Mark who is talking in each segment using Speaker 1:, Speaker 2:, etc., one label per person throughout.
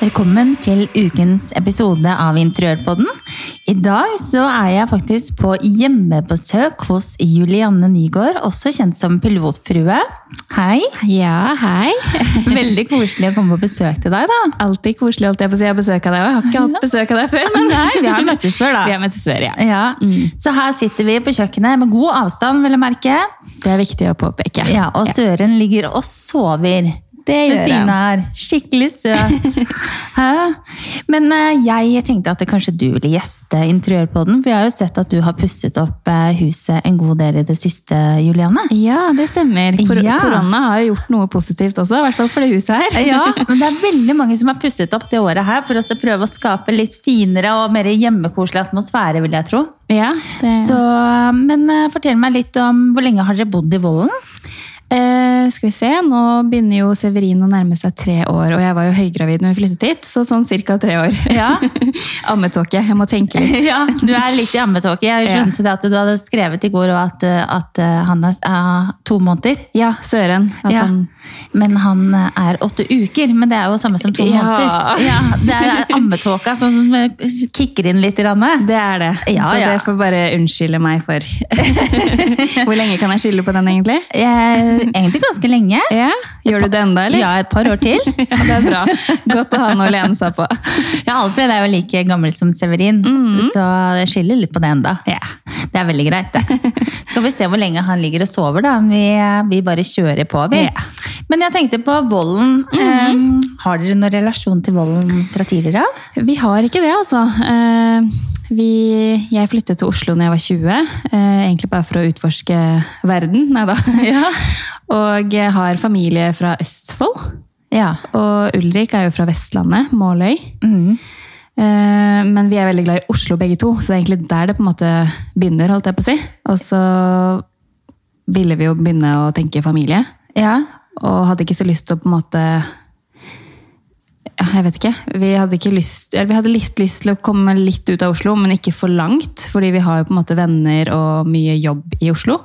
Speaker 1: Velkommen til ukens episode av Interiørpodden. I dag så er jeg faktisk på hjemmebesøk hos Julianne Nygaard, også kjent som Pilotfrue. Hei.
Speaker 2: Ja, hei.
Speaker 1: Veldig koselig å komme på besøk til deg, da.
Speaker 2: Alltid koselig holdt jeg på å si. Jeg har besøk av deg òg. Jeg har ikke hatt besøk av deg før. Men
Speaker 1: Nei, vi har møttes før,
Speaker 2: vi
Speaker 1: da.
Speaker 2: er med til Sverige. Ja.
Speaker 1: Ja. Så her sitter vi på kjøkkenet med god avstand, vil jeg merke.
Speaker 2: Det er viktig å påpeke.
Speaker 1: Ja, og Søren ligger og sover.
Speaker 2: det
Speaker 1: Ved
Speaker 2: gjør
Speaker 1: siden
Speaker 2: jeg.
Speaker 1: av her. Skikkelig søt. Hæ? Men eh, jeg tenkte at det kanskje du ville gjeste interiørpodden, for jeg har jo sett at du har pusset opp eh, huset en god del i det siste, Juliane.
Speaker 2: Ja, det stemmer. Kor
Speaker 1: Ja.
Speaker 2: Korona har jo gjort noe positivt også, i hvert fall for det huset her.
Speaker 1: Ja, men det er veldig mange som har pusset opp det året her for å så prøve å skape litt finere og mer hjemmekoselig atmosfære, vil jeg tro.
Speaker 2: Ja, det...
Speaker 1: Så, men eh, fortell meg litt om hvor lenge har dere bodd i Vollen?
Speaker 2: Eh, skal vi se, nå begynner jo Severin å nærme seg tre år, og jeg var jo høygravid når vi flyttet hit, så sånn cirka tre år.
Speaker 1: Ja.
Speaker 2: Ammetåke, jeg må tenke litt.
Speaker 1: Ja, du er litt i ammetåke. Jeg skjønte det at du hadde skrevet i går og at, eh, at eh, han er eh, to måneder.
Speaker 2: Ja, søren. At
Speaker 1: Ja.
Speaker 2: han
Speaker 1: Men han eh, er åtte uker, men det er jo samme som to
Speaker 2: Ja.
Speaker 1: måneder. Ja, det er ammetåka som som kicker inn litt. grann.
Speaker 2: Det er det.
Speaker 1: Ja,
Speaker 2: så
Speaker 1: ja.
Speaker 2: det får bare unnskylde meg for. Hvor lenge kan jeg skylde på den, egentlig?
Speaker 1: Eh, Egentlig ganske lenge.
Speaker 2: Ja, Gjør du det enda, eller?
Speaker 1: Ja, et par år til.
Speaker 2: Ja, det er bra. Godt å ha noe å lene seg på.
Speaker 1: Ja, Alfred er jo like gammel som Severin, så jeg skylder litt på det enda.
Speaker 2: Ja.
Speaker 1: Det er veldig greit, det. Skal vi se hvor lenge han ligger og sover, da. Vi, vi bare kjører på, vi.
Speaker 2: Ja.
Speaker 1: Men jeg tenkte på volden. Eh, Har dere noen relasjon til volden fra tidligere av?
Speaker 2: Vi har ikke det, altså. Eh, Vi, jeg flyttet til Oslo når jeg var 20, eh, egentlig bare for å utforske verden. Nei da. Og jeg har familie fra Østfold.
Speaker 1: Ja.
Speaker 2: Og Ulrik er jo fra Vestlandet, Måløy.
Speaker 1: Mhm.
Speaker 2: Eh, Men vi er veldig glad i Oslo begge to, så det er egentlig der det på en måte begynner. holdt jeg på å si. Og så ville vi jo begynne å tenke familie,
Speaker 1: ja.
Speaker 2: og hadde ikke så lyst til å på en måte ja, jeg vet ikke. Vi hadde, ikke lyst, eller vi hadde litt lyst til å komme litt ut av Oslo, men ikke for langt. Fordi vi har jo på en måte venner og mye jobb i Oslo.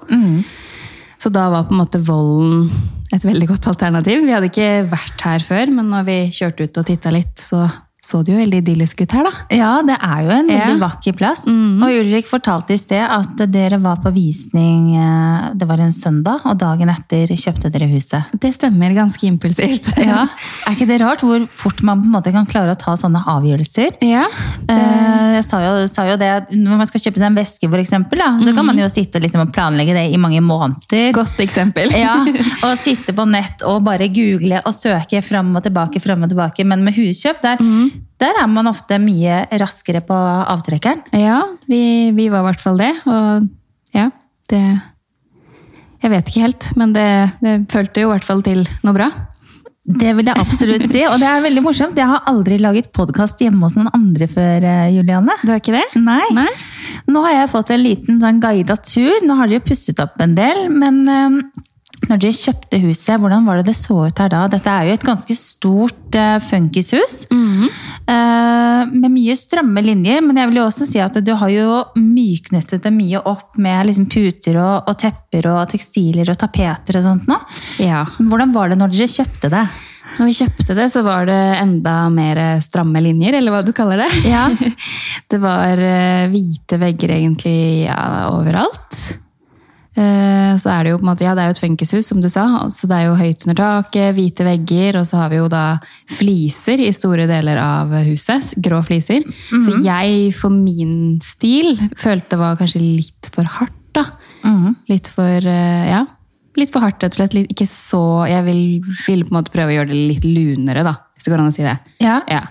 Speaker 2: Så da var på en måte volden et veldig godt alternativ. Vi hadde ikke vært her før, men når vi kjørte ut og titta litt, så så det jo veldig idyllisk ut her, da.
Speaker 1: Ja, det er jo en veldig
Speaker 2: Ja.
Speaker 1: vakker plass. Og Ulrik fortalte i sted at dere var på visning eh, Det var en søndag, og dagen etter kjøpte dere huset.
Speaker 2: Det stemmer ganske impulsivt.
Speaker 1: Ja. Er ikke det rart hvor fort man på en måte kan klare å ta sånne avgjørelser?
Speaker 2: ja.
Speaker 1: Eh, Jeg sa jo, sa jo det at Når man skal kjøpe seg en veske, for eksempel, da, så kan man jo sitte liksom og planlegge det i mange måneder.
Speaker 2: Godt eksempel.
Speaker 1: Ja, og sitte på nett og bare google og søke fram og tilbake, fram og tilbake. Men med huskjøp, der, der er man ofte mye raskere på avtrekkeren.
Speaker 2: Ja, vi, vi var i hvert fall det. Og ja, det Jeg vet ikke helt, men det, det følte jo i hvert fall til noe bra.
Speaker 1: Det vil jeg absolutt si, og det er veldig morsomt. Jeg har aldri laget podkast hjemme hos noen andre før, eh, Juliane.
Speaker 2: Du har ikke det?
Speaker 1: Nei.
Speaker 2: Nei?
Speaker 1: Nå har jeg fått en liten sånn guida tur. Nå har dere jo pusset opp en del, men eh, når dere kjøpte huset, hvordan var det det så ut her da? Dette er jo et ganske stort eh, funkishus. eh, med mye stramme linjer, men jeg vil jo også si at du har jo myknyttet det mye opp med liksom puter og, og tepper og tekstiler og tapeter og sånt nå.
Speaker 2: Ja.
Speaker 1: Hvordan var det når dere kjøpte det?
Speaker 2: Når vi kjøpte det, så var det enda mer stramme linjer, eller hva du kaller det.
Speaker 1: Ja.
Speaker 2: Det var eh, hvite vegger egentlig ja, overalt. Eh, Så er det jo på en måte, ja, det er jo et funkishus, som du sa, så det er jo høyt under taket, hvite vegger, og så har vi jo da fliser i store deler av huset, grå fliser. Så jeg, for min stil, følte det var kanskje litt for hardt, da.
Speaker 1: Mhm.
Speaker 2: Litt for, eh, ja, litt for hardt, rett og slett. Litt- Ikke så, jeg vil, vil på en måte prøve å gjøre det litt lunere, da, hvis det går an å si det.
Speaker 1: Ja.
Speaker 2: Ja.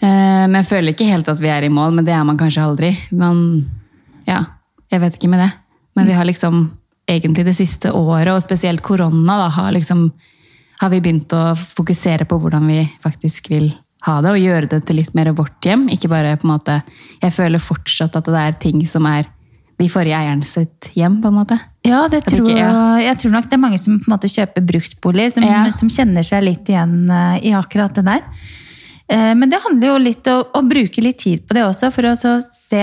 Speaker 2: Eh, Men jeg føler ikke helt at vi er i mål, men det er man kanskje aldri. Men ja, jeg vet ikke med det. Men vi har liksom egentlig det siste året, og spesielt korona, da, har liksom har vi begynt å fokusere på hvordan vi faktisk vil ha det, og gjøre det til litt mer vårt hjem. Ikke bare på en måte Jeg føler fortsatt at det er ting som er de forrige eieren sitt hjem, på en måte.
Speaker 1: Ja, det
Speaker 2: At det
Speaker 1: tror,
Speaker 2: ikke-
Speaker 1: jeg tror nok det er mange som på en måte kjøper bruktbolig, som,
Speaker 2: Ja.
Speaker 1: som kjenner seg litt igjen eh, i akkurat det der. Eh, Men det handler jo litt om å bruke litt tid på det også, for å så se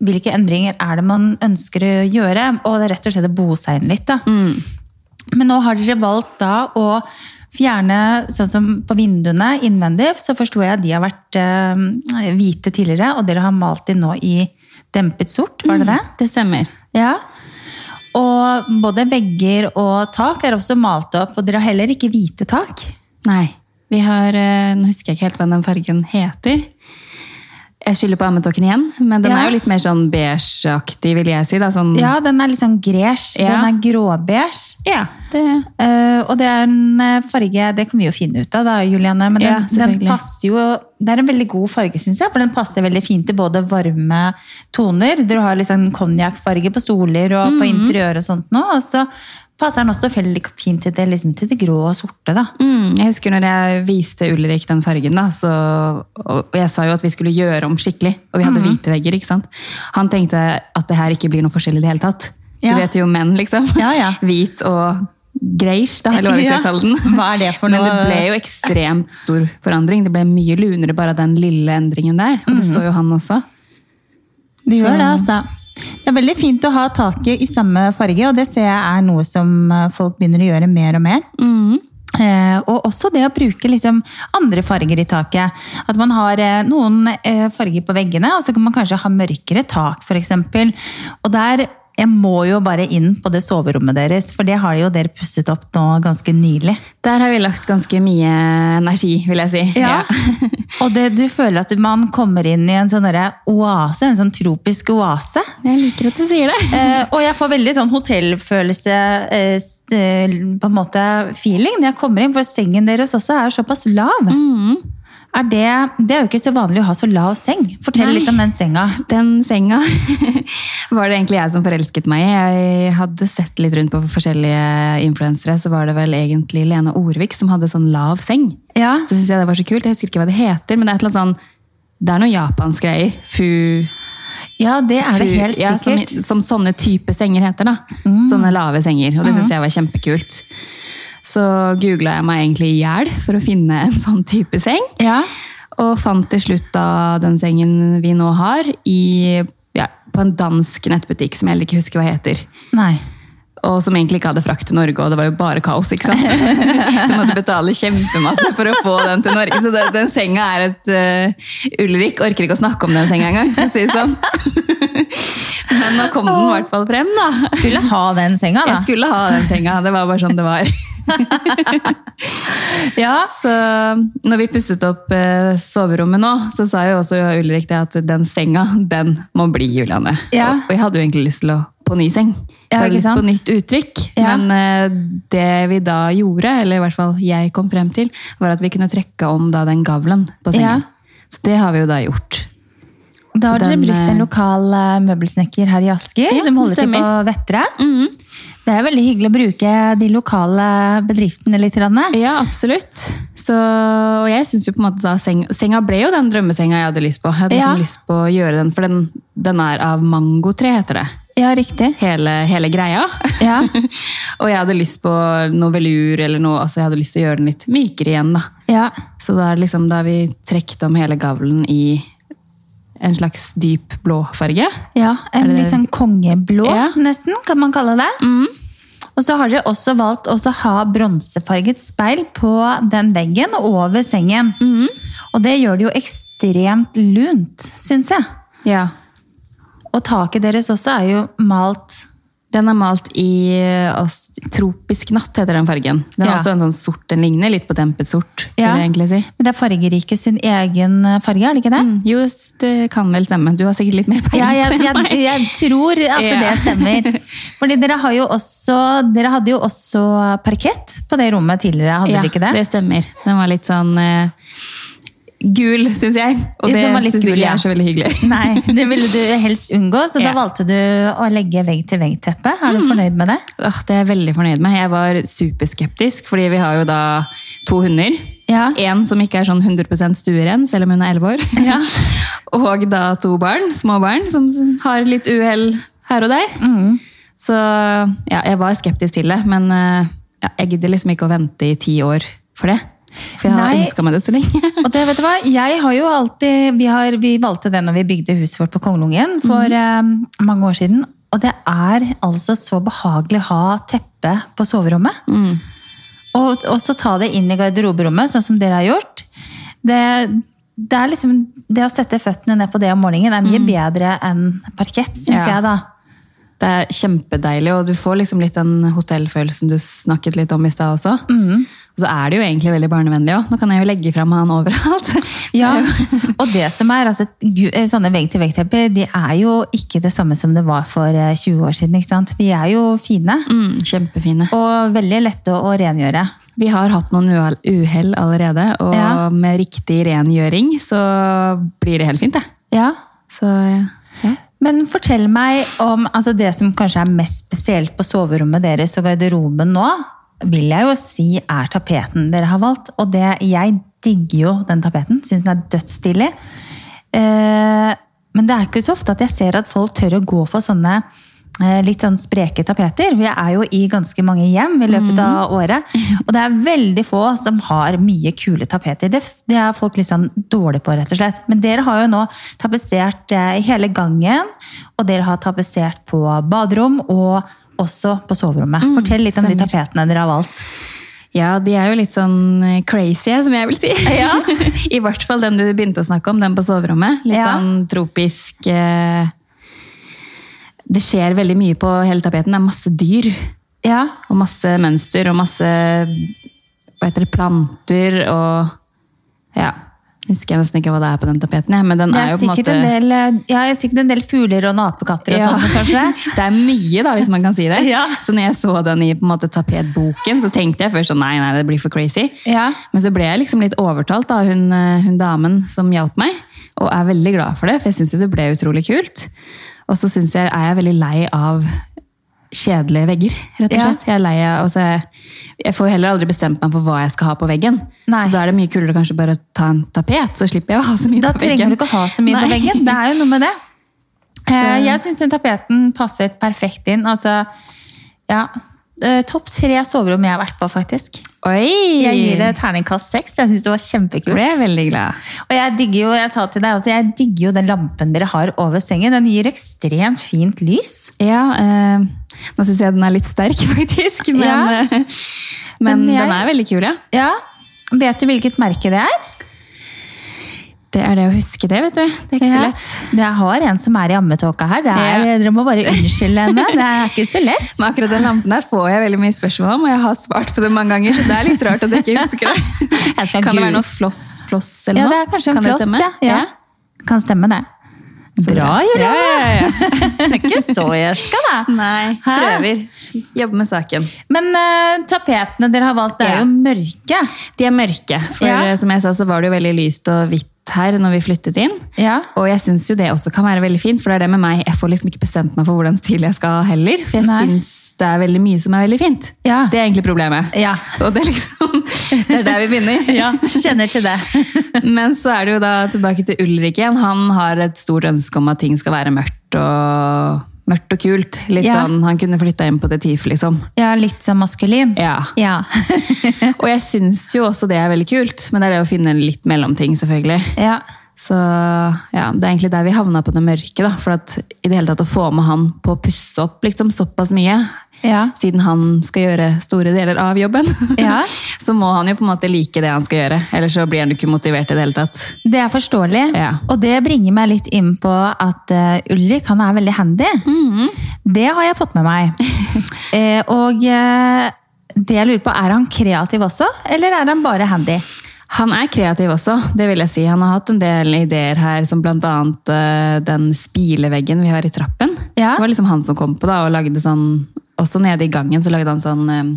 Speaker 1: hvilke endringer er det man ønsker å gjøre, og det er rett og slett å bo seg inn litt. Da. Men nå har dere valgt da å Fjerne sånn som på vinduene innvendig, så forsto jeg at de har vært eh, hvite tidligere, og dere har malt de nå i dempet sort, var det det?
Speaker 2: Det stemmer.
Speaker 1: Ja. Og både vegger og tak er også malt opp, og dere har heller ikke hvite tak.
Speaker 2: Nei. Vi har, eh, nå husker jeg ikke helt hva den fargen heter. Jeg skylder på ammetokken igjen, men den
Speaker 1: Ja.
Speaker 2: er jo litt mer sånn beigeaktig, vil jeg si. Da. Sånn,
Speaker 1: Ja, den er litt sånn gresj.
Speaker 2: Ja.
Speaker 1: Den er gråbeige.
Speaker 2: ja, det,
Speaker 1: Eh, og det er en eh, farge Det kan vi jo finne ut av, da, Juliane. Men den,
Speaker 2: Ja,
Speaker 1: den
Speaker 2: selvfølgelig.
Speaker 1: passer jo Det er en veldig god farge, syns jeg. For den passer veldig fint til både varme toner. Dere har liksom konjakkfarge på stoler og
Speaker 2: Mm.
Speaker 1: på interiør og sånt nå. Og så passer den også veldig fint til det, liksom, til det grå og sorte, da.
Speaker 2: Mm, jeg husker når jeg viste Ulrik den fargen, da, så, og og jeg sa jo at vi skulle gjøre om skikkelig, og vi hadde
Speaker 1: Mhm.
Speaker 2: hvite vegger, ikke sant? Han tenkte at det her ikke blir noe forskjell i det hele tatt.
Speaker 1: Ja.
Speaker 2: Du vet jo menn, liksom.
Speaker 1: Ja, ja.
Speaker 2: Hvit og greish, da, eller hva vi skal
Speaker 1: Ja.
Speaker 2: kalle den.
Speaker 1: Hva er det for
Speaker 2: Men
Speaker 1: noe?
Speaker 2: det ble jo ekstremt stor forandring. Det ble mye lunere bare av den lille endringen der, og det
Speaker 1: Mhm.
Speaker 2: så jo han også.
Speaker 1: Det gjør det, altså. Det er veldig fint å ha taket i samme farge, og det ser jeg er noe som eh, folk begynner å gjøre mer og mer. Eh, og også det å bruke liksom andre farger i taket. At man har eh, noen eh, farger på veggene, og så kan man kanskje ha mørkere tak, f.eks. Og der jeg må jo bare inn på det soverommet deres, for det har jo dere pusset opp nå ganske nylig.
Speaker 2: Der har vi lagt ganske mye energi, vil jeg si.
Speaker 1: og det, du føler at man kommer inn i en sånn derre oase, en sånn tropisk oase.
Speaker 2: Jeg liker at du sier det.
Speaker 1: Eh, og jeg får veldig sånn hotellfølelse eh, st- eh, på en måte feeling når jeg kommer inn, for sengen deres også er såpass lav.
Speaker 2: Mm.
Speaker 1: Er det, det er jo ikke så vanlig å ha så lav seng. Fortell
Speaker 2: Nei.
Speaker 1: litt om den senga.
Speaker 2: Den senga var det egentlig jeg som forelsket meg i. Jeg hadde sett litt rundt på forskjellige influensere, så var det vel egentlig Lene Orvik som hadde sånn lav seng.
Speaker 1: Ja.
Speaker 2: Så synes jeg det var så kult. Jeg husker ikke hva det heter, men det er et eller annet sånn det er noe japansk greier. Fu,
Speaker 1: ja, det er det
Speaker 2: fu-
Speaker 1: helt
Speaker 2: ja, som,
Speaker 1: sikkert. Mm.
Speaker 2: som sånne type senger heter, da. Sånne lave senger. Og det syns jeg var kjempekult. Så googla jeg meg egentlig i hjel for å finne en sånn type seng.
Speaker 1: Ja.
Speaker 2: Og fant til slutt da den sengen vi nå har, i, ja, på en dansk nettbutikk som jeg heller ikke husker hva heter.
Speaker 1: Nei.
Speaker 2: Og som egentlig ikke hadde frakt til Norge, og det var jo bare kaos. ikke sant? Så måtte betale kjempemasse for å få den til Norge. Så den, den senga er et eh, Ulrik orker ikke å snakke om den senga engang, for å si det sånn. Men nå kom den i hvert fall frem, da.
Speaker 1: Skulle ha den senga,
Speaker 2: Jeg
Speaker 1: da.
Speaker 2: skulle ha den senga. Det var bare sånn det var.
Speaker 1: Ja.
Speaker 2: Så når vi pusset opp eh, soverommet nå, så sa jo også Ulrik det at den senga, den må bli Juliane.
Speaker 1: Ja.
Speaker 2: Og, og jeg hadde jo egentlig lyst til å på ny seng.
Speaker 1: Ja,
Speaker 2: jeg hadde
Speaker 1: ikke
Speaker 2: lyst på
Speaker 1: sant?
Speaker 2: nytt uttrykk.
Speaker 1: Ja.
Speaker 2: Men eh, det vi da gjorde, eller i hvert fall jeg kom frem til, var at vi kunne trekke om da den gavlen på senga.
Speaker 1: Ja.
Speaker 2: Så det har vi jo da gjort.
Speaker 1: Da har
Speaker 2: Så
Speaker 1: dere
Speaker 2: den,
Speaker 1: brukt en
Speaker 2: eh,
Speaker 1: lokal eh, møbelsnekker her i Asker,
Speaker 2: Ja,
Speaker 1: som holder
Speaker 2: det
Speaker 1: til på
Speaker 2: stemmer. Mm.
Speaker 1: Vettre. Det er veldig hyggelig å bruke de lokale bedriftene litt. grann.
Speaker 2: Ja, absolutt. Så, og jeg synes jo på en måte da, seng, senga ble jo den drømmesenga jeg hadde lyst på. Jeg hadde
Speaker 1: Ja.
Speaker 2: liksom lyst på å gjøre den, for den, den er av mangotre, heter det.
Speaker 1: Ja, riktig.
Speaker 2: hele, hele greia.
Speaker 1: Ja.
Speaker 2: og jeg hadde lyst på noe velur, eller noe, altså jeg hadde lyst til å gjøre den litt mykere igjen. Da.
Speaker 1: Ja.
Speaker 2: Så da, er det liksom, da har vi trukket om hele gavlen i en slags dyp blå farge.
Speaker 1: Ja, en
Speaker 2: Er det-
Speaker 1: litt sånn kongeblå,
Speaker 2: Ja. Mm.
Speaker 1: nesten, kan man kalle det. Og så har dere også valgt å også ha bronsefarget speil på den veggen og over sengen.
Speaker 2: Mm.
Speaker 1: Og det gjør det jo ekstremt lunt, syns jeg.
Speaker 2: Ja.
Speaker 1: Og taket deres også er jo malt
Speaker 2: Den er malt i eh, as- tropisk natt, heter den fargen. Den er
Speaker 1: Ja.
Speaker 2: også en sånn sort, den ligner litt på dempet sort,
Speaker 1: Ja.
Speaker 2: vil jeg egentlig si.
Speaker 1: Men det er fargeriket sin egen farge, er det ikke det?
Speaker 2: Jo, det kan vel stemme. Du har sikkert litt mer
Speaker 1: Mm.
Speaker 2: peiling.
Speaker 1: Ja, jeg,
Speaker 2: på det enn
Speaker 1: jeg,
Speaker 2: meg.
Speaker 1: jeg tror at
Speaker 2: Ja.
Speaker 1: det stemmer. Fordi dere, har jo også, dere hadde jo også parkett på det rommet tidligere, hadde dere ikke det?
Speaker 2: det stemmer. Den var litt sånn eh, gul, syns jeg. Og
Speaker 1: Ja,
Speaker 2: det
Speaker 1: den var litt
Speaker 2: syns
Speaker 1: gul,
Speaker 2: ikke jeg
Speaker 1: ja.
Speaker 2: er så veldig hyggelig.
Speaker 1: Nei, det ville du helst unngå, så da
Speaker 2: Ja. Mm.
Speaker 1: valgte du å legge vegg-til-vegg-teppe. Er du fornøyd med det?
Speaker 2: Åh, det er jeg veldig fornøyd med. Jeg var superskeptisk, fordi vi har jo da to hunder.
Speaker 1: Ja.
Speaker 2: En som ikke er sånn 100 stueren, selv om hun er 11 år.
Speaker 1: Ja.
Speaker 2: og da to barn, små barn, som har litt uhell her og der. Så ja, jeg var skeptisk til det, men eh, ja, jeg gidder liksom ikke å vente i ti år for det. For jeg har
Speaker 1: Nei.
Speaker 2: ønska meg det så lenge.
Speaker 1: Og det, vet du hva, jeg har jo alltid Vi, har, vi valgte det når vi bygde huset vårt på Kongelungen for
Speaker 2: Mm.
Speaker 1: eh, mange år siden.
Speaker 2: Mm.
Speaker 1: Og det er altså så behagelig å ha teppe på soverommet. og, og så ta det inn i garderoberommet, sånn som dere har gjort. Det, det er liksom det å sette føttene ned på det om morgenen er mye bedre enn parkett, syns
Speaker 2: Mm. Ja.
Speaker 1: jeg, da.
Speaker 2: Det er kjempedeilig, og du får liksom litt den hotellfølelsen du snakket litt om i stad også.
Speaker 1: Mhm.
Speaker 2: Og så er det jo egentlig veldig barnevennlig òg. Nå kan jeg jo legge fram han overalt.
Speaker 1: Ja,
Speaker 2: Det er jo-
Speaker 1: og det som er, altså, gu- eh, sånne vegg-til-vegg-tepper, de er jo ikke det samme som det var for eh, 20 år siden, ikke sant? De er jo fine,
Speaker 2: Mm, kjempefine.
Speaker 1: og veldig lette å, å rengjøre.
Speaker 2: Vi har hatt noen uhell- uhell allerede, og
Speaker 1: Ja.
Speaker 2: med riktig rengjøring så blir det helt fint, det.
Speaker 1: Ja,
Speaker 2: Så ja. ja.
Speaker 1: men fortell meg om altså det som kanskje er mest spesielt på soverommet deres og garderoben nå, vil jeg jo si er tapeten dere har valgt. Og det, jeg digger jo den tapeten, synes den er dødsstilig. Eh, men det er ikke så ofte at jeg ser at folk tør å gå for sånne eh, litt sånn spreke tapeter. Vi er jo i ganske mange hjem i
Speaker 2: Mhm.
Speaker 1: løpet av året, og det er veldig få som har mye kule tapeter. Det, det er folk litt sånn dårlige på, rett og slett. Men dere har jo nå tapetsert eh, hele gangen, og dere har tapetsert på baderom og også på soverommet. Fortell litt om de
Speaker 2: Mm, stemmer.
Speaker 1: tapetene dere har valgt.
Speaker 2: Ja, de er jo litt sånn eh, crazy, som jeg vil si. I hvert fall den du begynte å snakke om, den på soverommet. Litt
Speaker 1: Ja.
Speaker 2: sånn tropisk eh, Det skjer veldig mye på hele tapeten. Det er masse dyr,
Speaker 1: Ja,
Speaker 2: og masse mønster, og masse hva heter det, planter og Ja. Husker jeg nesten ikke hva det er på den tapeten, jeg, men den
Speaker 1: det
Speaker 2: er,
Speaker 1: er,
Speaker 2: jo på en
Speaker 1: sikkert
Speaker 2: måte
Speaker 1: en del, eh, ja, det er sikkert en del fugler og napekatter og
Speaker 2: Ja.
Speaker 1: sånt, kanskje.
Speaker 2: Det er mye, da, hvis man kan si det.
Speaker 1: Ja.
Speaker 2: Så når jeg så den i på en måte, tapetboken, så tenkte jeg først sånn nei, nei, det blir for crazy.
Speaker 1: Ja.
Speaker 2: Men så ble jeg liksom litt overtalt av hun, eh, hun damen som hjalp meg, og er veldig glad for det, for jeg syns jo det ble utrolig kult. Og så synes jeg, er jeg veldig lei av kjedelige vegger, rett og
Speaker 1: Ja.
Speaker 2: slett. Jeg er lei av, og så jeg, jeg får heller aldri bestemt meg for hva jeg skal ha på veggen.
Speaker 1: Nei.
Speaker 2: Så da er det mye kulere kanskje bare å ta en tapet, så slipper jeg å ha så mye
Speaker 1: Da
Speaker 2: på veggen.
Speaker 1: trenger du ikke ha så mye på
Speaker 2: Nei.
Speaker 1: veggen. Det er jo noe med det. Eh, Jeg syns den tapeten passet perfekt inn. Altså, ja. eh, Topp tre soverom jeg har vært på, faktisk.
Speaker 2: Oi!
Speaker 1: Jeg gir det terningkast seks. Jeg syns det var
Speaker 2: ble jeg
Speaker 1: kjempekult.
Speaker 2: Mm. veldig glad.
Speaker 1: Og jeg digger jo, jeg sa til deg også, jeg digger jo den lampen dere har over sengen. Den gir ekstremt fint lys.
Speaker 2: Ja, eh, nå syns jeg den er litt sterk, faktisk. Men,
Speaker 1: Ja.
Speaker 2: eh, men,
Speaker 1: Men jeg-
Speaker 2: den er veldig kul, ja.
Speaker 1: Ja. Vet du hvilket merke det er?
Speaker 2: Det er det å huske det, vet du. Det er ikke så
Speaker 1: Ja.
Speaker 2: lett.
Speaker 1: Jeg har en som er i ammetåka her. Det er,
Speaker 2: Ja.
Speaker 1: Dere må bare unnskylde henne. Det er ikke så lett.
Speaker 2: Men akkurat den lampen der får jeg veldig mye spørsmål om, og jeg har svart på det mange ganger. så Det er litt rart at jeg ikke husker det.
Speaker 1: Jeg skal
Speaker 2: kan det
Speaker 1: google-
Speaker 2: være noe floss, floss eller
Speaker 1: Ja,
Speaker 2: noe?
Speaker 1: det er kanskje en
Speaker 2: Kan
Speaker 1: floss.
Speaker 2: stemme?
Speaker 1: Ja. Ja. Kan stemme det.
Speaker 2: Så
Speaker 1: Bra, Julia!
Speaker 2: Ja, ja, ja.
Speaker 1: Det er ikke så jørska, da.
Speaker 2: Nei,
Speaker 1: Hæ?
Speaker 2: prøver. Jobber med saken.
Speaker 1: Men eh, tapetene dere har valgt, det er
Speaker 2: Ja.
Speaker 1: jo mørke.
Speaker 2: De er mørke, for
Speaker 1: Ja.
Speaker 2: eh, som jeg sa så var det jo veldig lyst og hvitt her når vi flyttet inn.
Speaker 1: Ja.
Speaker 2: Og jeg syns jo det også kan være veldig fint, for det er det med meg. Jeg får liksom ikke bestemt meg for hvordan stil jeg skal ha heller, for jeg
Speaker 1: Nei.
Speaker 2: syns det er veldig mye som er veldig fint.
Speaker 1: Ja.
Speaker 2: Det er egentlig problemet.
Speaker 1: Ja.
Speaker 2: Og det er liksom Det er der vi begynner.
Speaker 1: Kjenner til det.
Speaker 2: Men så er det jo da tilbake til Ulrik igjen. Han har et stort ønske om at ting skal være mørkt og, mørkt og kult. Litt
Speaker 1: Ja.
Speaker 2: sånn, Han kunne flytta inn på det TIF, liksom.
Speaker 1: Ja, litt sånn maskulin.
Speaker 2: Ja.
Speaker 1: Ja.
Speaker 2: Og jeg syns jo også det er veldig kult, men det er det å finne litt mellomting, selvfølgelig.
Speaker 1: ja.
Speaker 2: Så ja, det er egentlig der vi havna på det mørke, da. For at i det hele tatt å få med han på å pusse opp liksom såpass mye,
Speaker 1: Ja.
Speaker 2: siden han skal gjøre store deler av jobben,
Speaker 1: Ja.
Speaker 2: så må han jo på en måte like det han skal gjøre. Ellers så blir han jo ikke motivert i det hele tatt.
Speaker 1: Det er forståelig.
Speaker 2: Ja.
Speaker 1: Og det bringer meg litt inn på at eh, Ulrik han er veldig handy.
Speaker 2: Mhm.
Speaker 1: Det har jeg fått med meg. eh, og eh, det jeg lurer på, er han kreativ også, eller er han bare handy?
Speaker 2: Han er kreativ også, det vil jeg si. Han har hatt en del ideer her, som blant annet eh, den spileveggen vi har i trappen.
Speaker 1: Ja.
Speaker 2: Det var liksom han som kom på da, og lagde sånn, også nede i gangen så lagde han sånn, eh,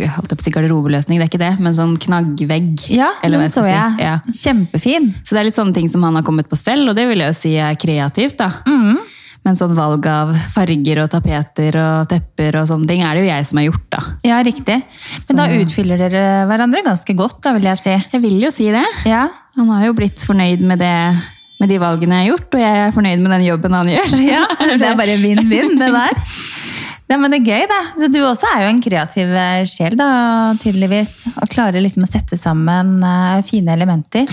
Speaker 2: jeg holdt på å si garderobeløsning, det er ikke det, men sånn knaggvegg.
Speaker 1: Ja,
Speaker 2: eller hva
Speaker 1: den så
Speaker 2: skal
Speaker 1: jeg.
Speaker 2: si. Ja.
Speaker 1: Kjempefin.
Speaker 2: Så det er litt sånne ting som han har kommet på selv, og det vil jeg jo si er kreativt da.
Speaker 1: Mhm.
Speaker 2: Men sånn valg av farger og tapeter og tepper og sånne ting, er det jo jeg som har gjort da.
Speaker 1: Ja, riktig. Men da utfyller dere hverandre ganske godt, da vil jeg si.
Speaker 2: Jeg vil jo si det.
Speaker 1: Ja,
Speaker 2: Han har jo blitt fornøyd med, det, med de valgene jeg har gjort, og jeg er fornøyd med den jobben han gjør.
Speaker 1: det er bare vinn-vinn, det der. Ja, men det er gøy, da. Så du også er jo en kreativ eh, sjel, da, tydeligvis. Og klarer liksom å sette sammen eh, fine elementer.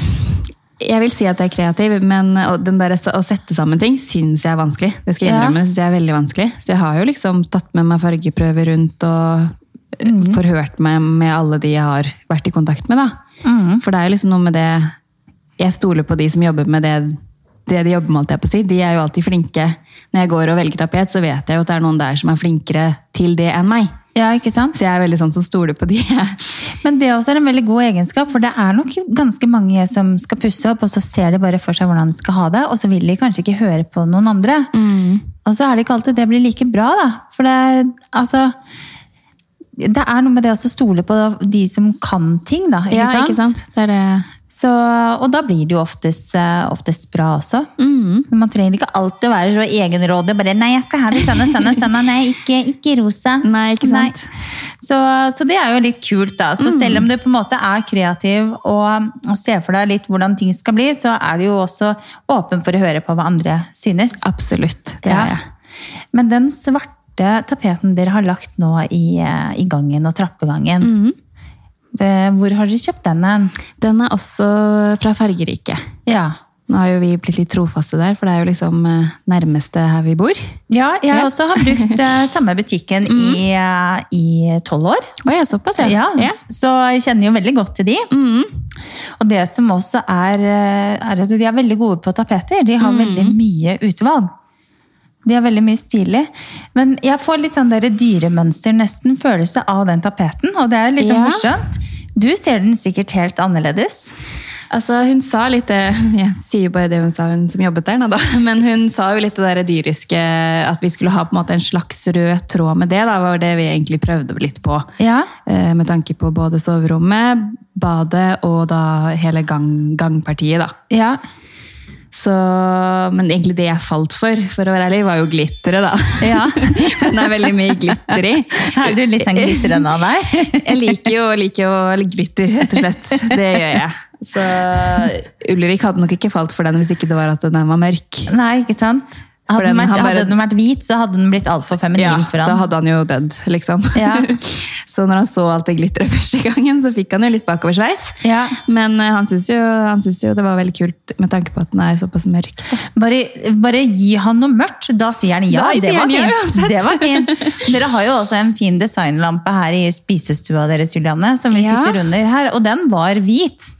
Speaker 2: Jeg vil si at jeg er kreativ, men å- den der, å sette sammen ting syns jeg er vanskelig. Det skal jeg
Speaker 1: Ja.
Speaker 2: innrømme, det synes jeg er veldig vanskelig. Så jeg har jo liksom tatt med meg fargeprøver rundt og eh, forhørt meg med alle de jeg har vært i kontakt med. Da.
Speaker 1: Mm.
Speaker 2: For det er jo liksom noe med det Jeg stoler på de som jobber med det, det de jobber med. holdt jeg på å si. De er jo alltid flinke. Når jeg går og velger tapet, så vet jeg jo at det er noen der som er flinkere til det enn meg.
Speaker 1: Ja, ikke sant?
Speaker 2: Så jeg er veldig sånn som stoler på de.
Speaker 1: Men det også er en veldig god egenskap, for det er nok ganske mange som skal pusse opp, og så ser de bare for seg hvordan de skal ha det, og så vil de kanskje ikke høre på noen andre.
Speaker 2: Mm.
Speaker 1: Og så er det ikke alltid det blir like bra, da. For det, altså, det er noe med det også å stole på de som kan ting, da. Ikke
Speaker 2: ja,
Speaker 1: sant?
Speaker 2: ikke sant? Det er det.
Speaker 1: Så, og da blir det jo oftest, eh, oftest bra også.
Speaker 2: Mm.
Speaker 1: Men Man trenger ikke alltid å være så egenrådig. Bare 'nei, jeg skal ha det sånn og sånn og sånn', og 'nei, ikke, ikke rosa'.
Speaker 2: Nei, ikke sant? Mm.
Speaker 1: Så, så det er jo litt kult, da. Så selv om du på en måte er kreativ og, og ser for deg litt hvordan ting skal bli, så er du jo også åpen for å høre på hva andre synes.
Speaker 2: Absolutt. Det er jeg.
Speaker 1: Men den svarte tapeten dere har lagt nå i, eh, i gangen og trappegangen,
Speaker 2: Mm.
Speaker 1: eh, hvor har dere kjøpt den hen?
Speaker 2: Den er også fra Fargerike.
Speaker 1: Ja.
Speaker 2: Nå har jo vi blitt litt trofaste der, for det er jo liksom eh, nærmeste her vi bor. Å,
Speaker 1: Ja, jeg
Speaker 2: Ja.
Speaker 1: også har brukt eh, samme butikken i, eh, i tolv år.
Speaker 2: ja, såpass,
Speaker 1: Ja,
Speaker 2: ja. Mm.
Speaker 1: Så jeg kjenner jo veldig godt til de. Og det som også er, eh, er at de er veldig gode på tapeter. De har
Speaker 2: Mm.
Speaker 1: veldig mye utvalg. De er veldig mye stilig. Men jeg får litt sånn der dyremønster nesten følelse av den tapeten, og det er litt sånn
Speaker 2: Ja.
Speaker 1: morsomt. Du ser den sikkert helt annerledes.
Speaker 2: Altså, hun sa litt det Jeg sier jo bare det hun sa, hun som jobbet der, nå da. Men hun sa jo litt det der dyriske At vi skulle ha på en måte en slags rød tråd med det. Da var det vi egentlig prøvde litt på.
Speaker 1: Ja.
Speaker 2: Eh, Med tanke på både soverommet, badet og da hele gang, gangpartiet, da.
Speaker 1: Ja.
Speaker 2: Så, men egentlig det jeg falt for, for å være ærlig, var jo glitteret, da.
Speaker 1: Ja.
Speaker 2: For Den er veldig mye glitter i.
Speaker 1: Er du litt sånn glitrende av deg?
Speaker 2: Jeg liker jo, liker jo glitter, rett og slett. Det gjør jeg. Så Ulrik hadde nok ikke falt for den hvis ikke det var at den var mørk.
Speaker 1: Nei, ikke sant?
Speaker 2: For
Speaker 1: Hadde den
Speaker 2: den
Speaker 1: vært,
Speaker 2: har bare-
Speaker 1: hadde den vært hvit, så hadde den blitt altfor feminin
Speaker 2: Ja,
Speaker 1: for
Speaker 2: da
Speaker 1: han.
Speaker 2: hadde han jo dødd, liksom.
Speaker 1: Ja.
Speaker 2: Så når han så alt det glitteret første gangen, så fikk han jo litt bakoversveis.
Speaker 1: Ja.
Speaker 2: Men eh, han syntes jo, han syntes jo det var veldig kult med tanke på at den er såpass mørk. da.
Speaker 1: Bare, bare gi han noe mørkt, da sier han ja.
Speaker 2: Da
Speaker 1: det,
Speaker 2: sier
Speaker 1: var
Speaker 2: han ja,
Speaker 1: fint.
Speaker 2: uansett.
Speaker 1: det var fint. Dere har jo også en fin designlampe her i spisestua deres, Julianne, som vi
Speaker 2: Ja.
Speaker 1: sitter under her, og den var hvit.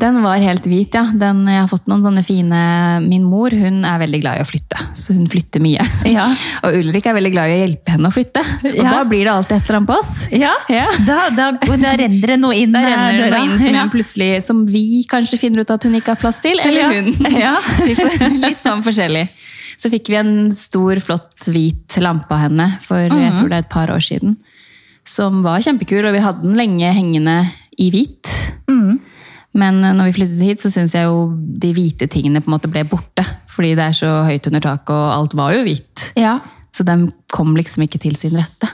Speaker 2: Den var helt hvit, ja. Den, jeg har fått noen sånne fine Min mor hun er veldig glad i å flytte, så hun flytter mye.
Speaker 1: Ja.
Speaker 2: Og Ulrik er veldig glad i å hjelpe henne å flytte. Og
Speaker 1: Ja.
Speaker 2: da blir det alltid et eller annet på oss.
Speaker 1: Ja, Da, da, da renner det noe inn
Speaker 2: Da
Speaker 1: eh,
Speaker 2: renner det
Speaker 1: døra.
Speaker 2: noe inn som, jeg plutselig, som vi kanskje finner ut at hun ikke har plass til,
Speaker 1: Ja.
Speaker 2: eller hun.
Speaker 1: Ja.
Speaker 2: Vi får- Litt sånn forskjellig. Så fikk vi en stor, flott hvit lampe av henne for jeg
Speaker 1: Mhm.
Speaker 2: tror det er et par år siden. Som var kjempekul, og vi hadde den lenge hengende i hvit.
Speaker 1: Mhm.
Speaker 2: Men eh, når vi flyttet hit, så syns jeg jo de hvite tingene på en måte ble borte. Fordi det er så høyt under taket, og alt var jo hvitt.
Speaker 1: Ja.
Speaker 2: Så den kom liksom ikke til sin rette.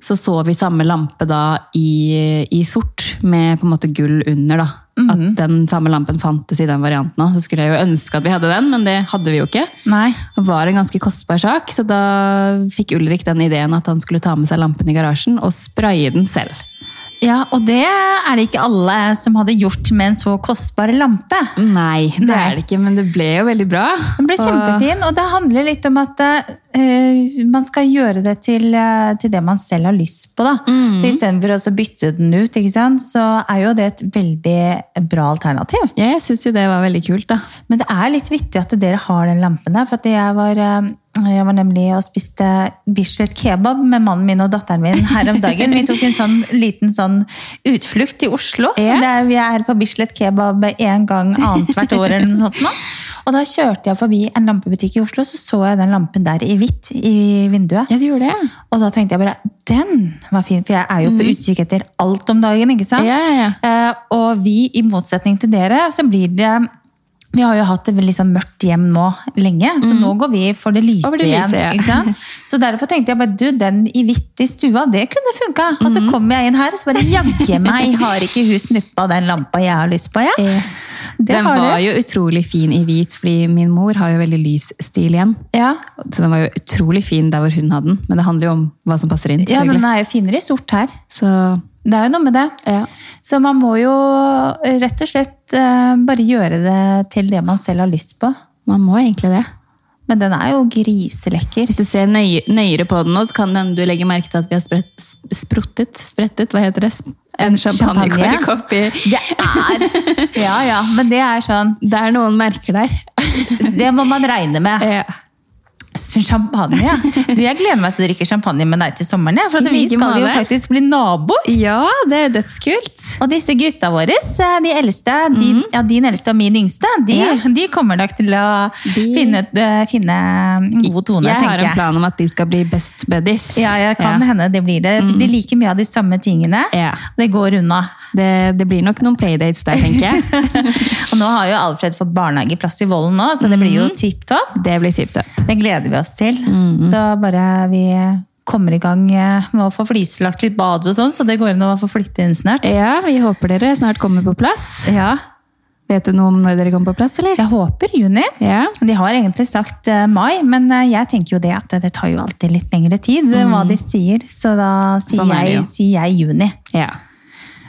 Speaker 2: Så så vi samme lampe da i, i sort, med på en måte gull under. da. At den samme lampen fantes i den varianten òg. Så skulle jeg jo ønske at vi hadde den, men det hadde vi jo ikke.
Speaker 1: Nei.
Speaker 2: Det var en ganske kostbar sak, så da fikk Ulrik den ideen at han skulle ta med seg lampen i garasjen og spraye den selv.
Speaker 1: Ja, og det er det ikke alle som hadde gjort med en så kostbar lampe.
Speaker 2: Nei, det
Speaker 1: Nei.
Speaker 2: er det ikke, men det ble jo veldig bra.
Speaker 1: Den ble kjempefin, og det handler litt om at eh, man skal gjøre det til, eh, til det man selv har lyst på. Da. Så Istedenfor å så bytte den ut, ikke sant? så er jo det et veldig bra alternativ.
Speaker 2: Ja, jeg syns jo det var veldig kult, da.
Speaker 1: Men det er litt vittig at dere har den lampen der. For at jeg var, eh, jeg var nemlig og spiste Bislett kebab med mannen min og datteren min her om dagen. Vi tok en sånn liten sånn utflukt til Oslo.
Speaker 2: Ja.
Speaker 1: Der vi er på Bislett kebab en gang annethvert år eller noe sånt. nå. Og da kjørte jeg forbi en lampebutikk i Oslo, så så jeg den lampen der i hvitt i vinduet.
Speaker 2: Ja, du gjorde det.
Speaker 1: Og da tenkte jeg bare den var fin, for jeg er jo på utkikk etter alt om dagen. ikke sant?
Speaker 2: Mhm. Ja, ja,
Speaker 1: Eh, og vi, i motsetning til dere, så blir det Vi har jo hatt det veldig sånn mørkt hjem nå lenge, så nå går vi for det lyse
Speaker 2: Over Mhm. det
Speaker 1: igjen.
Speaker 2: lyse, ja.
Speaker 1: ikke sant? Så derfor tenkte jeg bare du, den i hvitt i stua, det kunne funka. Og
Speaker 2: Mhm.
Speaker 1: så kom jeg inn her, og så bare jaggu meg har ikke hun snuppa den lampa jeg har lyst på, jeg. Det
Speaker 2: Den
Speaker 1: har
Speaker 2: var
Speaker 1: du.
Speaker 2: jo utrolig fin i hvit, fordi min mor har jo veldig lys stil igjen.
Speaker 1: Ja.
Speaker 2: Så den var jo utrolig fin der hvor hun hadde den, men det handler jo om hva som passer inn.
Speaker 1: ja, men
Speaker 2: selvfølgelig.
Speaker 1: den er jo finere i sort her.
Speaker 2: Så,
Speaker 1: Det er jo noe med det. Så man må jo eh, rett og slett eh, bare gjøre det til det man selv har lyst på.
Speaker 2: man må egentlig det.
Speaker 1: Men den er jo griselekker.
Speaker 2: Hvis du ser nøye, nøyere på den nå, så kan det hende du legger merke til at vi har spredt, sp- spruttet, sprettet, hva heter det? Sp- En
Speaker 1: champagne.
Speaker 2: champagnekork oppi.
Speaker 1: Det er Ja, ja, men det er sånn
Speaker 2: Det er noen merker der.
Speaker 1: Det må man regne med. Champagne, ja. Du, jeg gleder meg til å drikke champagne med deg til sommeren, jeg, for at
Speaker 2: I
Speaker 1: vi
Speaker 2: like
Speaker 1: skal jo
Speaker 2: måte.
Speaker 1: faktisk bli naboer.
Speaker 2: Ja, det er dødskult.
Speaker 1: Og disse gutta våre, eh, de eldste, din, ja, din eldste og min yngste, de,
Speaker 2: Mhm. Ja.
Speaker 1: de kommer nok til å
Speaker 2: De-
Speaker 1: finne, et- eh, finne en god tone,
Speaker 2: Jeg har
Speaker 1: tenker
Speaker 2: en
Speaker 1: jeg.
Speaker 2: plan om at de skal bli best buddies.
Speaker 1: Ja, jeg kan
Speaker 2: Ja. Mm.
Speaker 1: hende det blir det. Det blir like mye av de samme tingene.
Speaker 2: Ja.
Speaker 1: Det går unna.
Speaker 2: Det, det blir nok noen playdates der, tenker jeg.
Speaker 1: Og nå har jo Alfred fått barnehageplass i Vollen nå, så det blir
Speaker 2: Mm.
Speaker 1: jo tipp topp.
Speaker 2: Det blir tipp topp.
Speaker 1: Det gleder vi oss til.
Speaker 2: Mm.
Speaker 1: Så bare vi kommer i gang eh, med å få flislagt litt bad og sånn, så det går an å få flytte inn snart.
Speaker 2: Ja, vi håper dere snart kommer på plass.
Speaker 1: Ja,
Speaker 2: Vet du noe om når dere kommer på plass, eller?
Speaker 1: jeg håper juni.
Speaker 2: Ja.
Speaker 1: De har egentlig sagt eh, mai, men eh, jeg tenker jo det at det tar jo alltid litt lengre tid eh, hva de sier, så da sier,
Speaker 2: Mm. Sånn er det jo.
Speaker 1: jeg, sier jeg juni.
Speaker 2: ja.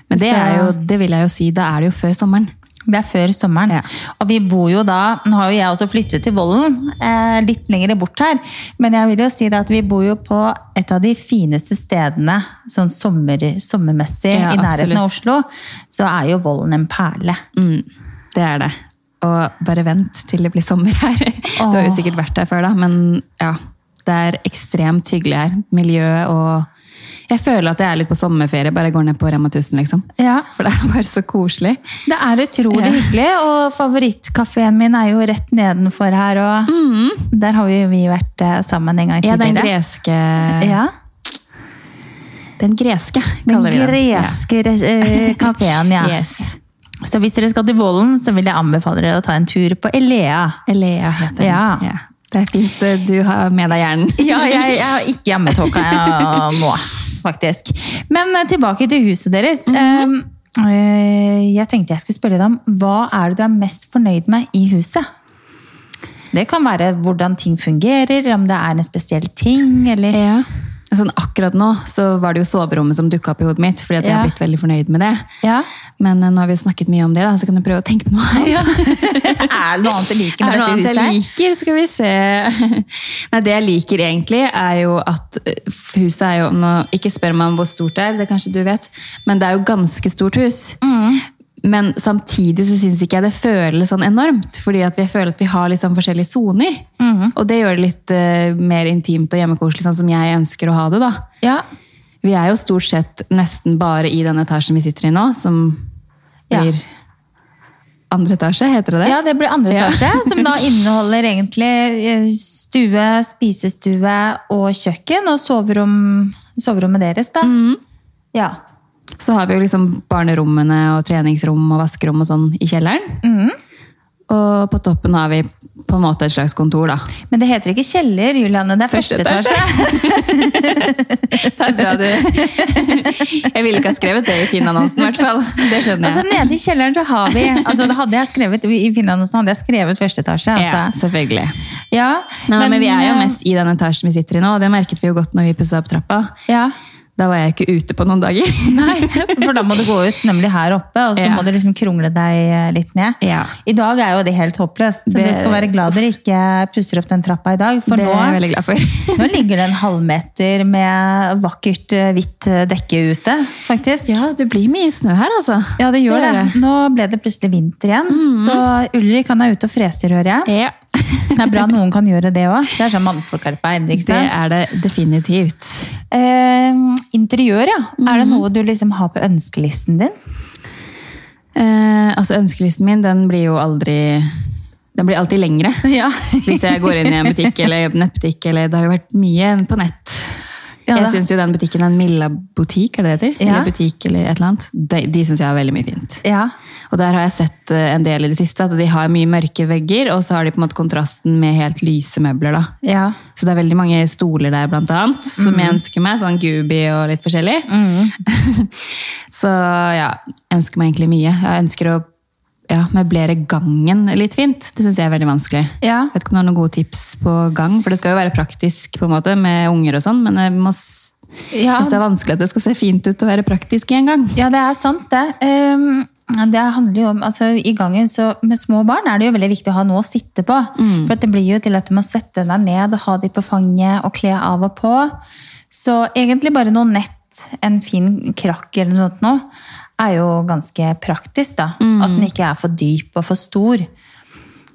Speaker 2: Men det,
Speaker 1: Så-
Speaker 2: er jo, det vil jeg jo si, da er det jo før sommeren.
Speaker 1: Det er før sommeren.
Speaker 2: Ja.
Speaker 1: Og vi bor jo da Nå har jo jeg også flyttet til Vollen, eh, litt lenger bort her. Men jeg vil jo si det at vi bor jo på et av de fineste stedene sånn sommer, sommermessig
Speaker 2: Ja,
Speaker 1: i nærheten av Oslo. Så er jo Vollen en perle.
Speaker 2: Mm, det er det. Og bare vent til det blir sommer her. Du har jo
Speaker 1: Åh.
Speaker 2: sikkert vært der før, da, men ja. Det er ekstremt hyggelig her. Miljøet og Jeg føler at jeg er litt på sommerferie, bare går ned på Rema 1000, liksom.
Speaker 1: Ja,
Speaker 2: For det er bare så koselig.
Speaker 1: Det er utrolig
Speaker 2: Ja.
Speaker 1: hyggelig, og favorittkafeen min er jo rett nedenfor her. Og der har jo vi vært eh, sammen en gang
Speaker 2: Mm. Ja, den
Speaker 1: tidligere.
Speaker 2: greske
Speaker 1: Ja,
Speaker 2: Den greske,
Speaker 1: den
Speaker 2: kaller vi den.
Speaker 1: greske ja. kafeen, ja.
Speaker 2: Ja. Yes.
Speaker 1: Så hvis dere skal til Vollen, så vil jeg anbefale dere å ta en tur på Elea.
Speaker 2: Elea heter den.
Speaker 1: Ja.
Speaker 2: Det er fint eh, du har med deg hjernen.
Speaker 1: Ja, jeg, jeg har ikke hjemmetåka jeg nå, faktisk. Men eh, tilbake til huset deres.
Speaker 2: Mhm.
Speaker 1: Eh, eh, Jeg tenkte jeg skulle spørre deg om hva er det du er mest fornøyd med i huset? Det kan være hvordan ting fungerer, om det er en spesiell ting, eller
Speaker 2: Ja. Sånn akkurat nå så var det jo soverommet som dukka opp i hodet mitt, fordi at jeg
Speaker 1: Ja.
Speaker 2: har blitt veldig fornøyd med det.
Speaker 1: Ja.
Speaker 2: Men eh, nå har vi jo snakket mye om det, da, så kan du prøve å tenke på noe annet.
Speaker 1: Er det noe annet du liker
Speaker 2: Er
Speaker 1: med dette
Speaker 2: det noe annet
Speaker 1: huset?
Speaker 2: jeg
Speaker 1: her?
Speaker 2: liker? Skal vi se Nei, det jeg liker egentlig, er jo at eh, huset er jo nå, Ikke spør meg om hvor stort det er, det kanskje du vet, men det er jo ganske stort hus. Mm. Men samtidig så syns ikke jeg det føles sånn enormt, fordi at jeg føler at vi har litt sånn forskjellige soner. Og det gjør det litt eh, mer intimt og hjemmekoselig, sånn som jeg ønsker å ha det. da.
Speaker 1: Ja.
Speaker 2: Vi er jo stort sett nesten bare i den etasjen vi sitter i nå, som
Speaker 1: Ja.
Speaker 2: blir andre etasje, heter det det?
Speaker 1: ja, det blir andre
Speaker 2: Ja.
Speaker 1: etasje, som da inneholder egentlig eh, stue, spisestue og kjøkken, og soverom, soverommet deres, da.
Speaker 2: Mhm.
Speaker 1: Ja.
Speaker 2: Så har vi jo liksom barnerommene og treningsrom og vaskerom og sånn i kjelleren.
Speaker 1: Mhm.
Speaker 2: Og på toppen har vi på en måte et slags kontor, da.
Speaker 1: Men det heter ikke kjeller, Julianne. Det er første etasje.
Speaker 2: Det er bra du Jeg ville ikke ha skrevet det i Finn-annonsen, i hvert fall. Det
Speaker 1: Og
Speaker 2: skjønner
Speaker 1: så
Speaker 2: jeg.
Speaker 1: nede i kjelleren så har vi altså, da hadde jeg skrevet, I Finland også hadde jeg skrevet første etasje.
Speaker 2: Ja,
Speaker 1: Altså.
Speaker 2: selvfølgelig.
Speaker 1: Ja, eh,
Speaker 2: Nei, men, vi er jo mest i den etasjen vi sitter i nå, og det merket vi jo godt når vi pussa opp trappa.
Speaker 1: ja.
Speaker 2: Da var jeg ikke ute på noen dager.
Speaker 1: Nei, for da må du gå ut nemlig her oppe, og så
Speaker 2: Ja.
Speaker 1: må du liksom krongle deg eh, litt ned.
Speaker 2: Ja.
Speaker 1: I dag er jo det helt håpløst, så
Speaker 2: Det-
Speaker 1: dere skal være glad dere ikke puster opp den trappa i dag. For
Speaker 2: det er jeg
Speaker 1: nå,
Speaker 2: veldig glad for.
Speaker 1: nå ligger det en halvmeter med vakkert eh, hvitt eh, dekke ute, faktisk.
Speaker 2: Ja, det blir mye snø her, altså.
Speaker 1: Ja, det gjør det. Mhm. Nå ble det plutselig vinter igjen, så Ulrik han er ute og freser, hører jeg.
Speaker 2: Ja,
Speaker 1: Det er bra noen kan gjøre det òg. Det er sånn mannfolkarbeid. ikke
Speaker 2: det
Speaker 1: sant?
Speaker 2: er det definitivt.
Speaker 1: Eh, interiør, ja. Er det noe du liksom har på ønskelisten din?
Speaker 2: Eh, altså Ønskelisten min den blir jo aldri Den blir alltid lengre.
Speaker 1: Ja.
Speaker 2: Hvis jeg går inn i en butikk eller nettbutikk. eller Det har jo vært mye på nett.
Speaker 1: Ja,
Speaker 2: jeg
Speaker 1: da.
Speaker 2: syns jo den butikken, den Milla butikk, er det det heter?
Speaker 1: Ja.
Speaker 2: Eller butikk eller et eller annet. De, de syns jeg har veldig mye fint.
Speaker 1: ja.
Speaker 2: Og der har jeg sett eh, en del i det siste, at de har mye mørke vegger, og så har de på en måte kontrasten med helt lyse møbler, da.
Speaker 1: Ja.
Speaker 2: Så det er veldig mange stoler der, blant annet, som jeg ønsker meg. Sånn Gooby og litt forskjellig.
Speaker 1: Mhm.
Speaker 2: Mhm. så ja, jeg ønsker meg egentlig mye. Jeg ønsker å ja, møblere gangen litt fint. Det syns jeg er veldig vanskelig.
Speaker 1: Ja.
Speaker 2: Jeg vet ikke om du har noen gode tips på gang, for det skal jo være praktisk på en måte, med unger og sånn, men det må s-
Speaker 1: Ja.
Speaker 2: jeg synes det er vanskelig at det skal se fint ut og være praktisk i en gang.
Speaker 1: ja, det er sant, det. Ehm, Ja, Det handler jo om, altså I gangen så, med små barn er det jo veldig viktig å ha noe å sitte på.
Speaker 2: Mm.
Speaker 1: For at det blir jo til at du må sette deg ned og ha de på fanget og kle av og på. Så egentlig bare noe nett, en fin krakk eller noe sånt nå, er jo ganske praktisk. da.
Speaker 2: Mm.
Speaker 1: At den ikke er for dyp og for stor.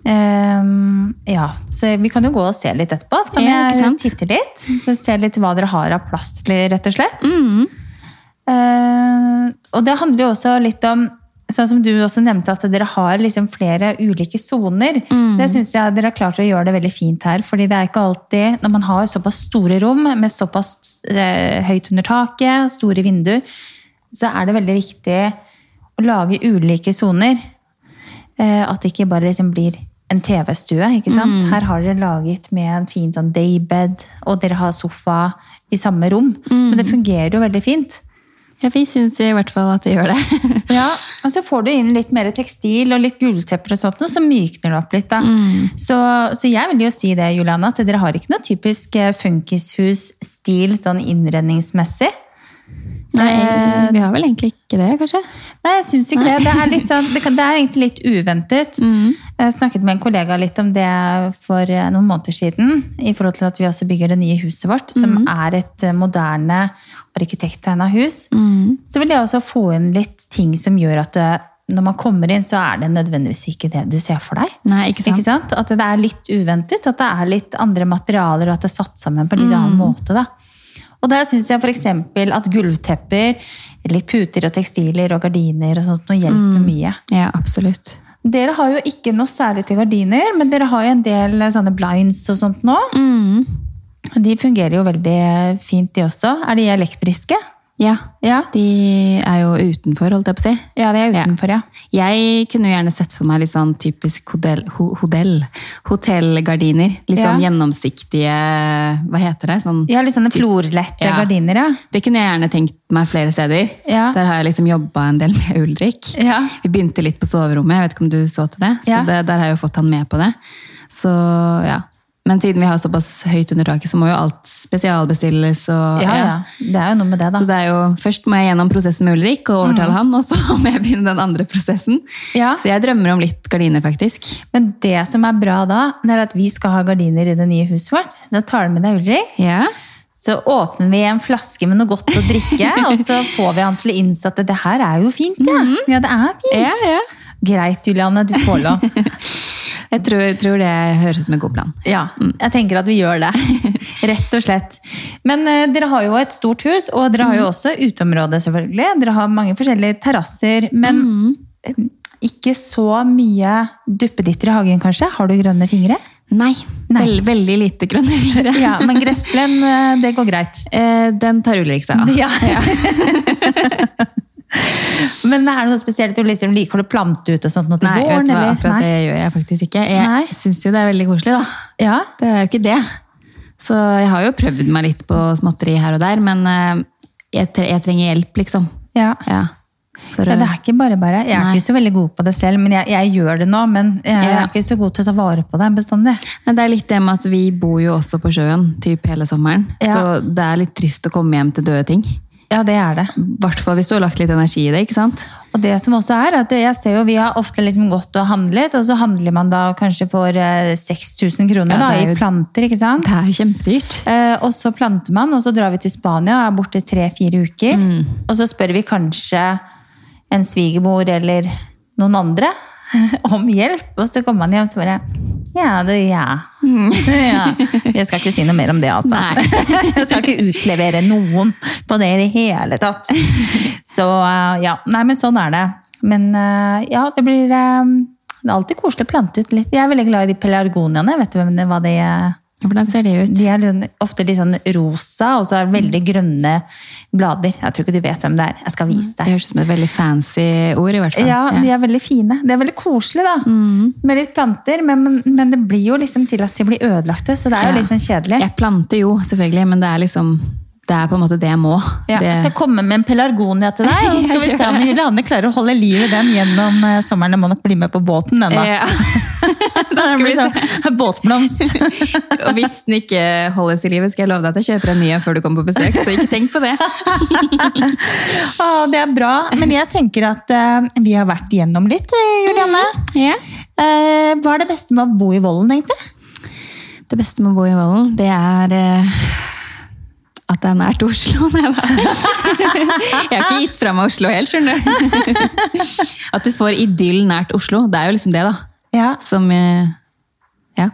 Speaker 1: Ehm, ja, så vi kan jo gå og se litt etterpå. Så kan
Speaker 2: Ja, ikke
Speaker 1: jeg
Speaker 2: sant?
Speaker 1: titte litt. for å Se litt hva dere har av plass, rett og slett.
Speaker 2: Mm.
Speaker 1: Eh, og det handler jo også litt om Sånn som du også nevnte, at dere har liksom flere ulike soner. Det syns jeg dere har klart å gjøre det veldig fint her. fordi det er ikke alltid, når man har såpass store rom med såpass eh, høyt under taket, store vinduer, så er det veldig viktig å lage ulike soner. Eh, at det ikke bare liksom blir en TV-stue. ikke sant? Her har dere laget med en fin sånn daybed, og dere har sofa i samme rom. Men det fungerer jo veldig fint.
Speaker 2: Ja, vi syns i hvert fall at det gjør det.
Speaker 1: Ja, og så får du inn litt mer tekstil og litt gultepper og sånt, og så mykner det opp litt. da. Så, så jeg vil jo si det, Juliana, at dere har ikke noe typisk eh, funkishus-stil sånn innredningsmessig. Eh,
Speaker 2: Nei, vi har vel egentlig ikke det, kanskje?
Speaker 1: Nei, jeg syns ikke det. Det er, litt sånn, det, kan, det er egentlig litt uventet. Jeg snakket med en kollega litt om det for eh, noen måneder siden. I forhold til at vi også bygger det nye huset vårt, som er et eh, moderne arkitekttegna hus. Så vil jeg også få inn litt ting som gjør at eh, når man kommer inn, så er det nødvendigvis ikke det du ser for deg.
Speaker 2: Nei, ikke sant?
Speaker 1: Ikke sant? At det er litt uventet, at det er litt andre materialer, og at det er satt sammen på en litt annen måte. Da. Og der syns jeg f.eks. at gulvtepper, litt puter og tekstiler og gardiner og sånt, nå hjelper mye.
Speaker 2: Ja, absolutt.
Speaker 1: Dere har jo ikke noe særlig til gardiner, men dere har jo en del sånne blinds og sånt nå. De fungerer jo veldig fint, de også. Er de elektriske?
Speaker 2: Ja,
Speaker 1: Ja,
Speaker 2: de er jo utenfor, holdt jeg på å si.
Speaker 1: ja de er
Speaker 2: Ja.
Speaker 1: utenfor, ja.
Speaker 2: Jeg kunne jo gjerne sett for meg litt sånn typisk hodell, ho, hodell, hotellgardiner. Litt sånn
Speaker 1: Ja.
Speaker 2: gjennomsiktige Hva heter det? Sånn,
Speaker 1: De har litt sånne florlette
Speaker 2: Ja.
Speaker 1: gardiner, ja.
Speaker 2: Det kunne jeg gjerne tenkt meg flere steder.
Speaker 1: Ja.
Speaker 2: Der har jeg liksom jobba en del med Ulrik.
Speaker 1: Ja.
Speaker 2: Vi begynte litt på soverommet, jeg vet ikke om du så til det. Så
Speaker 1: Ja.
Speaker 2: det, der har jeg jo fått han med på det. Så ja. Men siden vi har såpass høyt under taket, så må jo alt spesialbestilles. Og,
Speaker 1: ja, ja. Det er jo noe med det, da. Mm.
Speaker 2: Så det er jo, først må jeg gjennom prosessen med Ulrik og overtale han, og så må jeg begynne den andre prosessen.
Speaker 1: Ja.
Speaker 2: Så jeg drømmer om litt gardiner, faktisk.
Speaker 1: Men det som er bra da, det er at vi skal ha gardiner i det nye huset vårt. Så da tar du med deg Ulrik.
Speaker 2: Ja,
Speaker 1: Så åpner vi en flaske med noe godt å drikke, og så får vi han til å innse at det her er jo fint, ja. Ja, det er fint.
Speaker 2: ja. ja.
Speaker 1: Greit, Julianne, du får lov.
Speaker 2: Jeg tror, tror det høres ut som en god plan.
Speaker 1: Ja, jeg tenker at vi gjør det. Rett og slett. Men eh, dere har jo et stort hus, og dere har jo også uteområde, selvfølgelig. Dere har mange forskjellige terrasser, men eh, ikke så mye duppeditter i hagen, kanskje? Har du grønne fingre?
Speaker 2: Nei,
Speaker 1: Nei.
Speaker 2: Vel, veldig lite grønne fingre.
Speaker 1: Ja, men gressplen, eh, det går greit.
Speaker 2: Eh, Den tar Ulrik seg av.
Speaker 1: Ja. Men er det noe spesielt du liksom liker? Har du plante ut og sånt nå til
Speaker 2: Nei, vet
Speaker 1: våren?
Speaker 2: du hva,
Speaker 1: eller?
Speaker 2: akkurat det
Speaker 1: Nei.
Speaker 2: gjør jeg faktisk ikke.
Speaker 1: Nei.
Speaker 2: Jeg syns jo det er veldig koselig, da.
Speaker 1: Ja.
Speaker 2: Det er jo ikke det. Så jeg har jo prøvd meg litt på småtteri her og der, men eh, jeg, tre jeg trenger hjelp, liksom.
Speaker 1: Ja.
Speaker 2: Ja. For,
Speaker 1: ja,
Speaker 2: å-
Speaker 1: det er ikke bare bare. Jeg er
Speaker 2: Nei.
Speaker 1: ikke så veldig god på det selv, men jeg, jeg gjør det nå. Men jeg
Speaker 2: Ja.
Speaker 1: er ikke så god til å ta vare på det bestandig.
Speaker 2: Nei, det er litt det med at vi bor jo også på sjøen typ hele sommeren,
Speaker 1: Ja.
Speaker 2: så det er litt trist å komme hjem til døde ting.
Speaker 1: Ja, det er det.
Speaker 2: I hvert fall hvis du har lagt litt energi i det, ikke sant?
Speaker 1: Og det som også er, at jeg ser jo vi har ofte liksom gått og handlet, og så handler man da kanskje for eh, 6000 kroner
Speaker 2: Ja,
Speaker 1: da,
Speaker 2: det
Speaker 1: i
Speaker 2: er jo-
Speaker 1: planter, ikke sant?
Speaker 2: Det er jo kjempedyrt.
Speaker 1: Eh, og så planter man, og så drar vi til Spania og er borte tre-fire uker. Og så spør vi kanskje en svigermor eller noen andre om hjelp. Og så kommer man hjem og så bare Ja, det ja. ja. Jeg skal ikke si noe mer om det, altså.
Speaker 2: Nei.
Speaker 1: Jeg skal ikke utlevere noen på det i det hele tatt. Så eh, ja. Nei, men sånn er det. Men eh, ja, det blir eh, Det er alltid koselig å plante ut litt. Jeg er veldig glad i de pelargoniaene. Vet du hvem det, hva de er?
Speaker 2: Hvordan ser det ut?
Speaker 1: De er litt sånn- ofte litt sånn rosa, og så er det
Speaker 2: Mm.
Speaker 1: veldig grønne blader. Jeg tror ikke du vet hvem det er. Jeg skal vise
Speaker 2: Det
Speaker 1: deg.
Speaker 2: høres ut som et veldig fancy ord, i hvert fall.
Speaker 1: Ja, de er veldig fine. Det er veldig koselig, da.
Speaker 2: Mm.
Speaker 1: Med litt planter, men, men, men det blir jo liksom til at de blir ødelagte, så det er jo
Speaker 2: Ja.
Speaker 1: litt sånn kjedelig.
Speaker 2: Jeg planter jo, selvfølgelig, men det er liksom det er på en måte det jeg må.
Speaker 1: Ja,
Speaker 2: det,
Speaker 1: jeg skal komme med en pelargonia til deg, og så skal vi se om Julianne klarer å holde liv i den gjennom eh, sommeren. Den må nok bli med på båten, den da.
Speaker 2: Ja.
Speaker 1: da
Speaker 2: skal vi
Speaker 1: blir det sånn båtblomst.
Speaker 2: og hvis den ikke holdes i livet, skal jeg love deg at jeg kjøper en ny en før du kommer på besøk. Så ikke tenk på det.
Speaker 1: Å, det er bra. Men jeg tenker at eh, vi har vært gjennom litt, eh, Julianne.
Speaker 2: Mm.
Speaker 1: Eh, hva er det beste med å bo i Vollen, egentlig?
Speaker 2: Det beste med å bo i Vollen, det er eh, at det er nært Oslo. Nei, da. Jeg har ikke gitt fra meg Oslo helt, skjønner du. At du får idyll nært Oslo, det er jo liksom det, da.
Speaker 1: Ja.
Speaker 2: Som eh, Ja.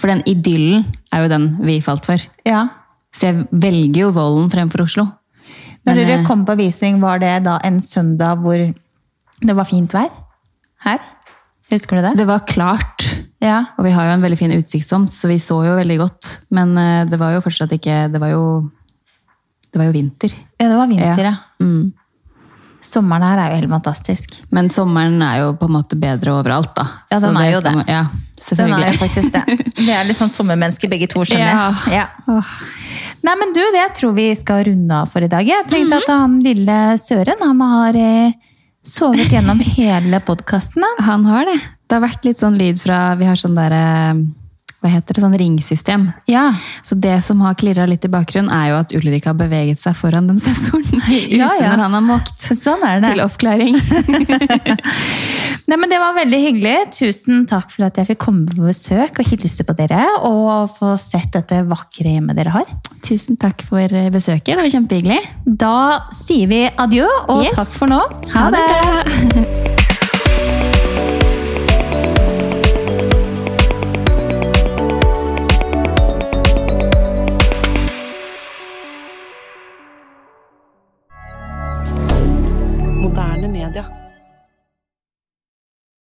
Speaker 2: For den idyllen er jo den vi falt for.
Speaker 1: ja.
Speaker 2: Så jeg velger jo Vollen fremfor Oslo.
Speaker 1: Når
Speaker 2: Men,
Speaker 1: dere
Speaker 2: eh,
Speaker 1: kom på visning, var det da en søndag hvor det var fint vær? Her? Husker du det?
Speaker 2: Det var klart,
Speaker 1: Ja.
Speaker 2: og vi har jo en veldig fin utsiktshomt, så vi så jo veldig godt. Men eh, det var jo fortsatt ikke Det var jo, det var jo vinter.
Speaker 1: ja, det var vinter, ja.
Speaker 2: Mm.
Speaker 1: Sommeren her er jo helt fantastisk.
Speaker 2: Men sommeren er jo på en måte bedre overalt, da.
Speaker 1: Ja, den
Speaker 2: Så
Speaker 1: er jo
Speaker 2: skal
Speaker 1: det.
Speaker 2: man- Ja,
Speaker 1: Den er jo
Speaker 2: selvfølgelig.
Speaker 1: faktisk det. Vi er litt sånn sommermennesker begge to, skjønner jeg. Ja. Nei, men du, det tror vi skal runde av for i dag. Jeg tenkte at han lille Søren, han har eh, sovet gjennom hele podkasten.
Speaker 2: Han har det. Det har vært litt sånn lyd fra Vi har sånn derre Hva heter det? Sånn ringsystem.
Speaker 1: Ja.
Speaker 2: Så det som har klirra litt i bakgrunnen, er jo at Ulrik har beveget seg foran den sensoren. Ute
Speaker 1: Ja, ja.
Speaker 2: når han har måkt.
Speaker 1: Sånn er det.
Speaker 2: Til oppklaring.
Speaker 1: Nei, men Det var veldig hyggelig. Tusen takk for at jeg fikk komme på besøk og hilse på dere. Og få sett dette vakre hjemmet dere har.
Speaker 2: Tusen takk for eh, besøket. Det var kjempehyggelig.
Speaker 1: Da sier vi adjø, og
Speaker 2: Yes.
Speaker 1: takk for nå.
Speaker 2: Ha det bra!